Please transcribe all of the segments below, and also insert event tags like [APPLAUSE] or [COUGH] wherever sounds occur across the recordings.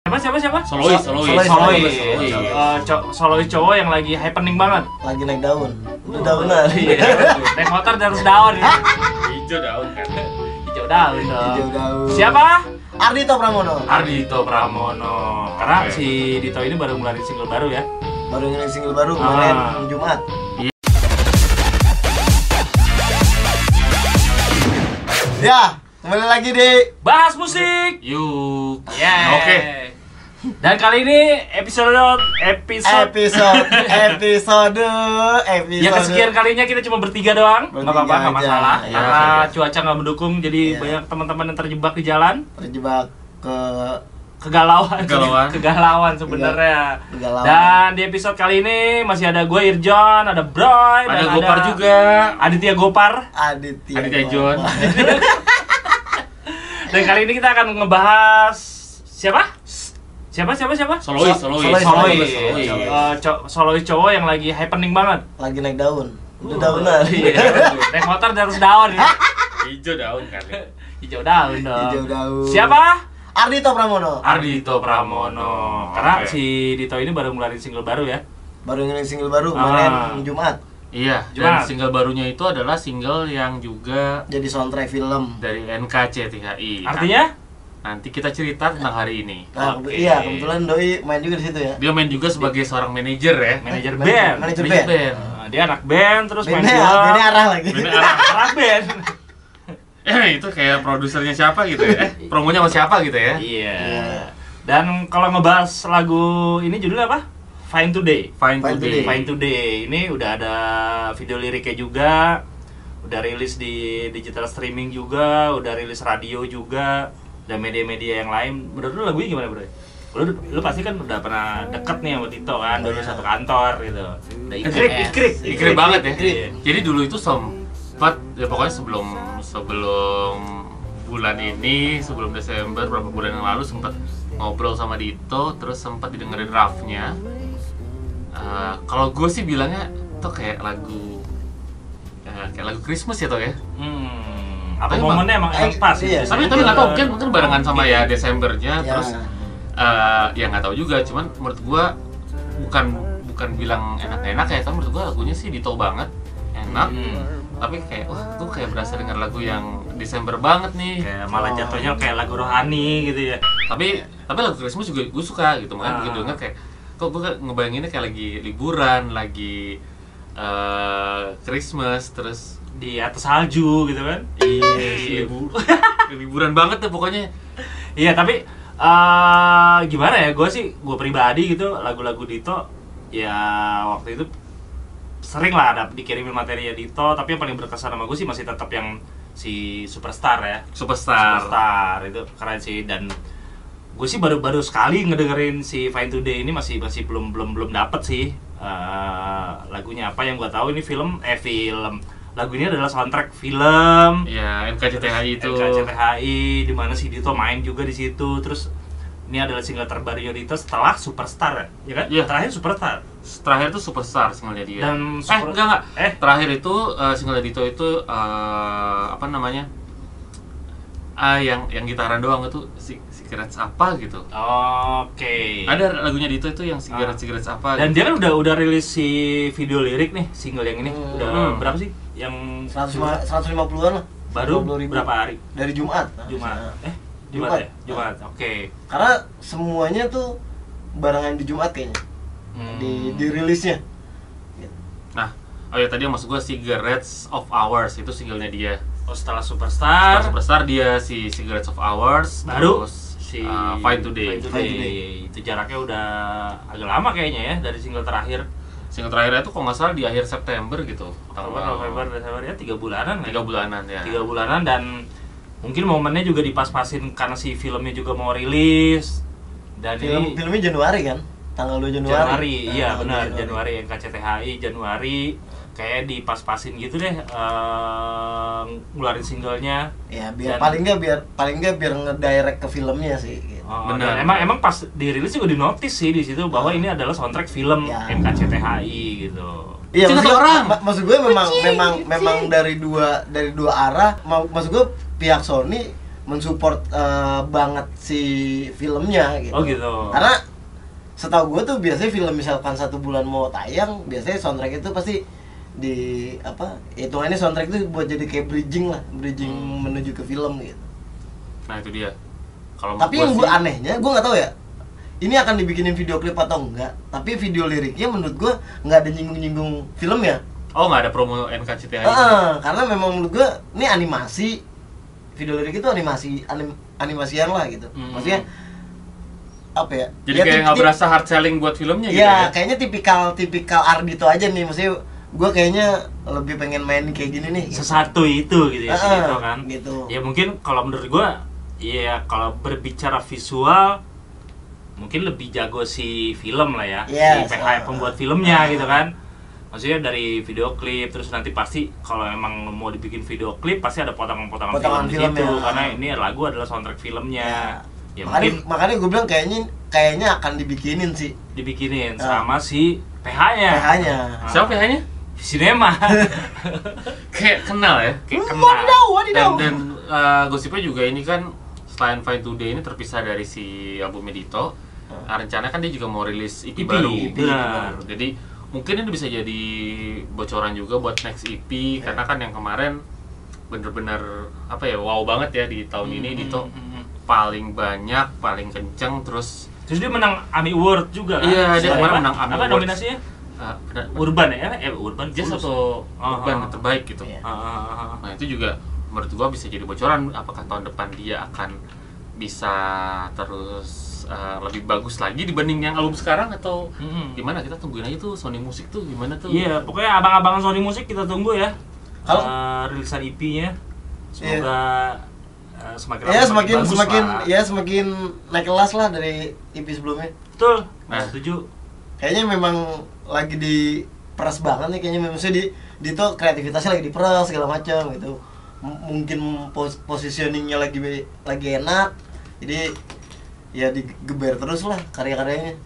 siapa siapa siapa Solois, So- Solois, Solois, Solois, Solois. Eh, co- solois cowok yang lagi happening banget lagi naik daun udah daunan iya naik motor di atas daun ya. Hijau daun kan. hijau daun hijau dong daun siapa Ardito Pramono Ardito Pramono karena Oke. si Dito ini baru ngeluarin single baru ya baru ngerilis single baru kemarin Ah. Jumat ya kembali lagi di bahas musik Yuk. yeah. Oke. dan kali ini episode episode [LAUGHS] episode episode episode yang kesekian kalinya kita cuma bertiga doang nggak Bertiga apa-apa nggak aja. masalah Iya, karena iya. cuaca nggak mendukung jadi Iya. banyak teman-teman yang terjebak di jalan terjebak ke kegalauan Kegalauan. [LAUGHS] kegalauan sebenarnya Iya, Kegalauan. dan di episode kali ini masih ada gue Irjon ada Broy Ada dan Gopar juga. Aditya Gopar Aditya Aditya John. dan kali ini kita akan ngebahas siapa siapa siapa siapa Solois, So- Solois, Solois, Solois, Solois, Solois. Eh, co- Solois cowok yang lagi happening banget [LAUGHS] lagi naik daun udah daunan Iya. [LAUGHS] naik motor di atas daun ya Hijau daun kan. hijau daun dong Hijau daun. siapa Ardito Pramono Ardito Pramono karena Oke. si Dito ini baru ngeluarin single baru ya baru ngerilis single baru kemarin Ah. Jumat Iya, Jumat. dan single barunya itu adalah single yang juga jadi soundtrack film dari NKCTHI. artinya Nanti kita cerita tentang hari ini. nah Oke. kebe- iya kebetulan Doi main juga di situ ya Dia main juga sebagai seorang manajer ya. manajer Manajer- band manajer Manajer band. band. Nah, dia anak band terus main Bandnya, film bandnya arah lagi Bandnya ah, Arah- arah [LAUGHS] band Eh, itu kayak produsernya siapa gitu ya? [LAUGHS] Eh, promonya sama siapa gitu ya? iya dan kalau ngebahas lagu ini judulnya apa Fine Today Fine Fine today. Today. Fine Today ini udah ada video liriknya juga udah rilis di digital streaming juga udah rilis radio juga dan media-media yang lain menurut lu lagunya gimana bro? Lu, lu pasti kan udah pernah deket nih sama Tito kan dulu satu kantor gitu Udah ikrip ikrip Ikrip banget ya. Iya. Jadi dulu itu sempat ya pokoknya sebelum sebelum bulan ini, sebelum Desember berapa bulan yang lalu sempat ngobrol sama Dito, terus sempat didengerin draftnya. Eh, kalau gue sih bilangnya itu kayak lagu eh, kayak lagu Christmas ya toh ya. hmm, apa Tapi momennya emang, emang eh, pas iya. gitu? Tapi tapi nggak tahu mungkin mungkin barengan sama Iya. ya Desembernya, Ya. terus eh, ya nggak tahu juga. Cuman menurut gue bukan bukan bilang enak-enak ya, tapi menurut gue lagunya sih Dito banget, enak Hmm. tapi kayak wah tuh kayak berasa denger lagu yang Desember banget nih Kayak malah jatuhnya kayak lagu rohani gitu ya tapi tapi lagu Christmas juga gue suka gitu makanya Ah. begitu denger kayak kok gue ngebayanginnya kayak lagi liburan lagi eh Christmas terus di atas salju gitu kan [LAUGHS] iya libu- liburan banget tuh pokoknya Iya tapi eh gimana ya gue sih gue pribadi gitu lagu-lagu Dito ya waktu itu sering lah ada dikirimin materi ya Dito tapi yang paling berkesan sama gue sih masih tetap yang si superstar ya superstar, superstar itu keren sih dan gue sih baru-baru sekali ngedengerin si Fine Today ini masih masih belum belum belum dapet sih eh, lagunya apa yang gue tahu ini film eh film lagu ini adalah soundtrack film ya NKCTHI itu LKCTHI di mana si Dito main juga di situ terus ini adalah single terbarunya Dito setelah Superstar ya, ya kan? Iya. Terakhir Superstar. terakhir tuh superstar singlenya dia Dan eh super- enggak enggak eh? eh terakhir itu eh, single Dito itu eh, apa namanya ah yang yang gitaran doang itu si cigarettes apa gitu Oke. ada lagunya Dito itu yang cigarettes cigarettes Iya. apa Ah. Dan gitu. dia kan udah udah rilis si video lirik nih single yang ini. Hmm. Udah berapa sih? Yang 150 150-an lah baru 150.000. berapa hari? dari Jumat Jumat. Eh, Jumat, Jumat. ya? Jumat. Oke. karena semuanya tuh barengan di Jumat kayaknya Hmm. di dirilisnya nah oh ya tadi yang maksud gua cigarettes of hours itu singlenya dia Oh, setelah Setelah Superstar. superstar dia si cigarettes of hours baru terus si eh, fine today Fine Fine Today. Itu jaraknya udah agak lama kayaknya ya dari single terakhir. single terakhirnya itu kalau nggak salah di akhir September gitu Oktober, November, Desember ya tiga bulanan ya. tiga bulanan ya Tiga bulanan dan mungkin momennya juga dipas-pasin karena si filmnya juga mau rilis dan film ini filmnya Januari kan tanggal 2 Januari Nah, Januari, iya Tanggal benar 2 Januari yang KCTHI Januari kayak dipas-pasin gitu deh eh, ngeluarin singlenya. ya biar Dan- paling nggak biar paling nggak biar ngedirect ke filmnya sih gitu. Oh, Benar. dan emang emang pas dirilis juga dinotis sih di situ bahwa ini adalah soundtrack film Ya. MKCTHI gitu. Iya, Cinta maksud, orang. ma- maksud gue memang memang memang dari dua dari dua arah. Ma- Maksud gue pihak Sony mensupport eh, banget si filmnya gitu. Oh, gitu. Karena setahu gue tuh biasanya film misalkan satu bulan mau tayang, biasanya soundtrack itu pasti di apa? Hitungannya soundtrack itu buat jadi kayak bridging lah, bridging Hmm. menuju ke film gitu. Nah itu dia. Kalau Tapi menurut gua yang gue sih- anehnya, gue nggak tahu ya. Ini akan dibikinin video klip atau enggak? Tapi video liriknya menurut gue nggak ada nyinggung-nyinggung film ya. Oh nggak ada promo NKCTH ini. Heeh, karena memang menurut gue ini animasi video lirik itu animasi anim, animasian lah gitu. Hmm. Maksudnya apa ya? Jadi Ya, kayak tip- nggak tip- berasa hard selling buat filmnya gitu ya. Ya, kayaknya tipikal tipikal Ardito aja nih. Maksudnya gue kayaknya lebih pengen main kayak gini nih. sesatu itu gitu ya Ah, gitu kan gitu. ya mungkin kalau menurut gua ya kalau berbicara visual mungkin lebih jago si film lah ya Yes, si PH ah. pembuat filmnya gitu kan maksudnya dari video klip terus nanti pasti kalau emang mau dibikin video klip pasti ada potongan-potongan Potongan film, film di situ ya. karena ini lagu adalah soundtrack filmnya ya, makanya mungkin makanya gue bilang kayaknya kayaknya akan dibikinin sih dibikinin Ah. sama si PH-nya PH-nya. Ah. Siapa PH-nya? [LAUGHS] sinema Kayak kenal ya. Hmm. Kayak kenal. Wadidaw, wadidaw. Dan dan eh, gosipnya juga ini kan selain Fine Today ini terpisah dari si album Medito, nah, rencana kan dia juga mau rilis EP, EP, baru. EP Benar. baru. Jadi mungkin ini bisa jadi bocoran juga buat next EP karena kan yang kemarin bener-bener apa ya wow banget ya di tahun ini Dito Mm-mm. paling banyak paling kenceng terus Terus dia menang AMI Award juga kan? Iya, dia Siapa? kemarin menang AMI Apa Awards. nominasinya? eh, bener- Urban ya? Eh, Urban dia Bulls. satu Ah, ah. urban yang terbaik gitu Iya. Ah, ah, ah, ah. nah itu juga menurut gua bisa jadi bocoran apakah tahun depan dia akan bisa terus eh, lebih bagus lagi dibanding yang album sekarang atau Mm-mm. gimana kita tungguin aja tuh Sony Music tuh gimana tuh Iya, pokoknya abang-abang Sony Music kita tunggu ya. Kalau- Eh, rilisan EP-nya semoga eh, semakin Ya lama semakin bagus semakin lah. ya semakin naik kelas lah dari EP sebelumnya. Betul. Nah. Setuju. Kayaknya memang lagi di peras banget nih kayaknya memang di di tuh kreativitasnya lagi diperas segala macam gitu. M- mungkin pos positioningnya lagi be- lagi enak. Jadi ya digeber terus lah karya-karyanya.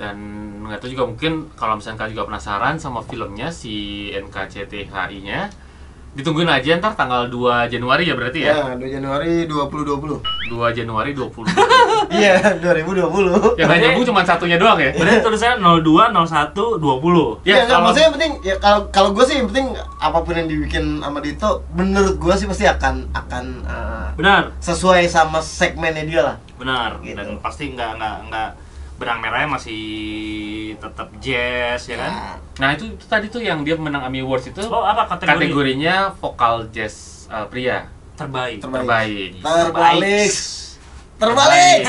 dan nggak tahu juga mungkin kalau misalnya kalian juga penasaran sama filmnya si NKCTHI nya ditungguin aja ntar tanggal 2 Januari ya berarti ya Ya, 2 Januari [LAUGHS] 2 2020. Januari 20 [LAUGHS] Iya, 2020. yang nggak nyambung cuma satunya doang ya [LAUGHS] Berarti tulisannya 02 01 20. Ya, Ya, nggak, kalau- maksudnya yang penting ya kalau kalau gue sih yang penting apapun yang dibikin sama Dito menurut gue sih pasti akan akan eh, Benar. sesuai sama segmennya dia lah. Benar. Gitu. Dan pasti nggak nggak nggak benang merahnya masih tetap jazz ya kan? nah itu, itu tadi tuh yang dia menang AMI Awards Ya. itu Oh, apa kategori? kategorinya vokal jazz eh, pria terbaik. terbaik. Terbaik. Terbalik. Terbaik. Terbalik.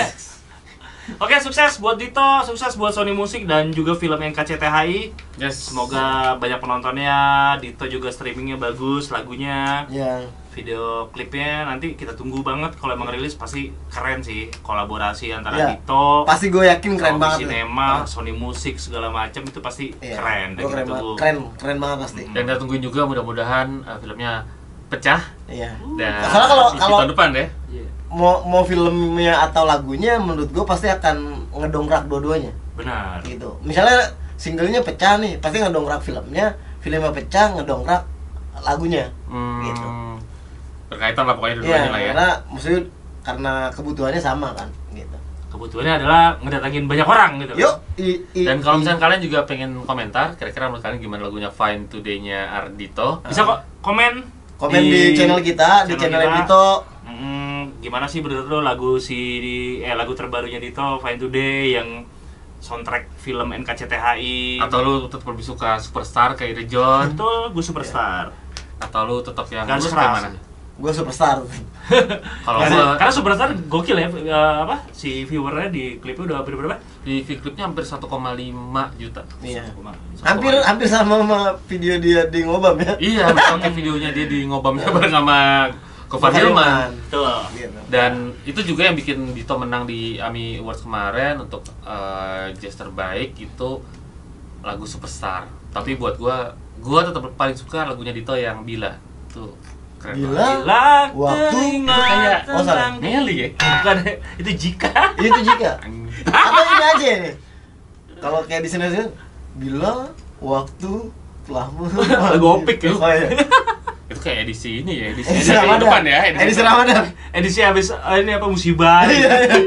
Oke, sukses buat Dito, sukses buat Sony Music dan juga film NKCTHI. Yes. Semoga banyak penontonnya, Dito juga streamingnya bagus, lagunya, Ya, video klipnya nanti kita tunggu banget kalau emang rilis pasti keren sih kolaborasi antara Iya. Dito, pasti gue yakin keren Sony banget. tuh. Cinema, Ah, Sony Music segala macam itu pasti iya. keren. Dan kita Gua gitu. keren banget. tunggu. Keren, keren banget pasti. Dan kita tungguin juga mudah-mudahan eh, filmnya pecah Iya. dan Soalnya kalau- isi kalau- tahun depan ya. Iya. Mau mau filmnya atau lagunya menurut gue pasti akan ngedongkrak dua-duanya Benar. gitu. Misalnya singlenya pecah nih, pasti ngedongkrak filmnya, filmnya pecah ngedongkrak lagunya. Hmm, Gitu. Berkaitan lah pokoknya dua-duanya Iya, lah ya. karena maksudnya karena kebutuhannya sama kan gitu. Kebutuhannya adalah ngedatangin banyak orang gitu. Yuk, i- i- Dan kalau i- misalkan kalian juga pengen komentar, kira-kira menurut kalian gimana lagunya Fine Today-nya Ardito? Bisa kok komen komen di, di channel kita, di channel channel kita. Edito. Mm, gimana sih menurut lo lagu si eh lagu terbarunya Dito Fine Today yang soundtrack film NKCTHI Atau lu tetap lebih suka Superstar kayak Ira John? betul gue superstar Atau lu tetap yang Garis lu suka keras. yang mana? Gue superstar. Kalau karena, gua karena superstar gokil ya eh, apa si viewernya di klipnya udah hampir berapa di video klipnya hampir 1,5 juta. Iya. Koma- Hampir hampir sama sama video dia di ngobam ya. Iya, misalnya videonya dia di ngobamnya bareng sama Kofar Hilman. betul Gitu. Dan itu juga yang bikin Dito menang di AMI Awards kemarin untuk eh, jazz terbaik itu lagu Superstar. Tapi buat gua, gua tetap paling suka lagunya Dito yang Bila. Tuh, keren. Bila. Bila Waktu terima itu kayak- oh, salah. tentang- Meli ya? bukan [LAUGHS] itu jika Itu jika. banget. Atau ini aja nih. Kalau kayak di sini sini bila waktu telah Lagu Opik ya? Oh, iya. itu kayak edisi ini ya edisi, Edisi edisi Ramadan. kehidupan ya Edisi Ramadan. Edisi habis eh, ini apa musibah. Iya, iya.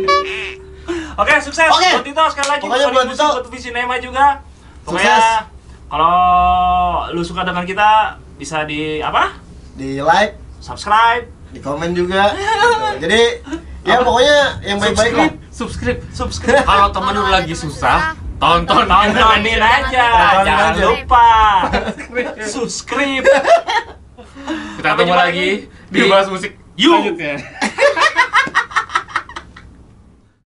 Oke, sukses Oke. buat Tito sekali lagi Pokoknya buat buat Musi, Tito. buat Visinema juga. Pokoknya Sukses. kalau lu suka dengan kita bisa di apa? di like Subscribe, di komen juga gitu. jadi ya pokoknya yang baik-baik lah subscribe subscribe subscribe. kalau temen lu lagi susah tonton Tontonin aja, Tontonin jangan aja. [LAUGHS] lupa subscribe. kita ketemu lagi di bahas musik You. selanjutnya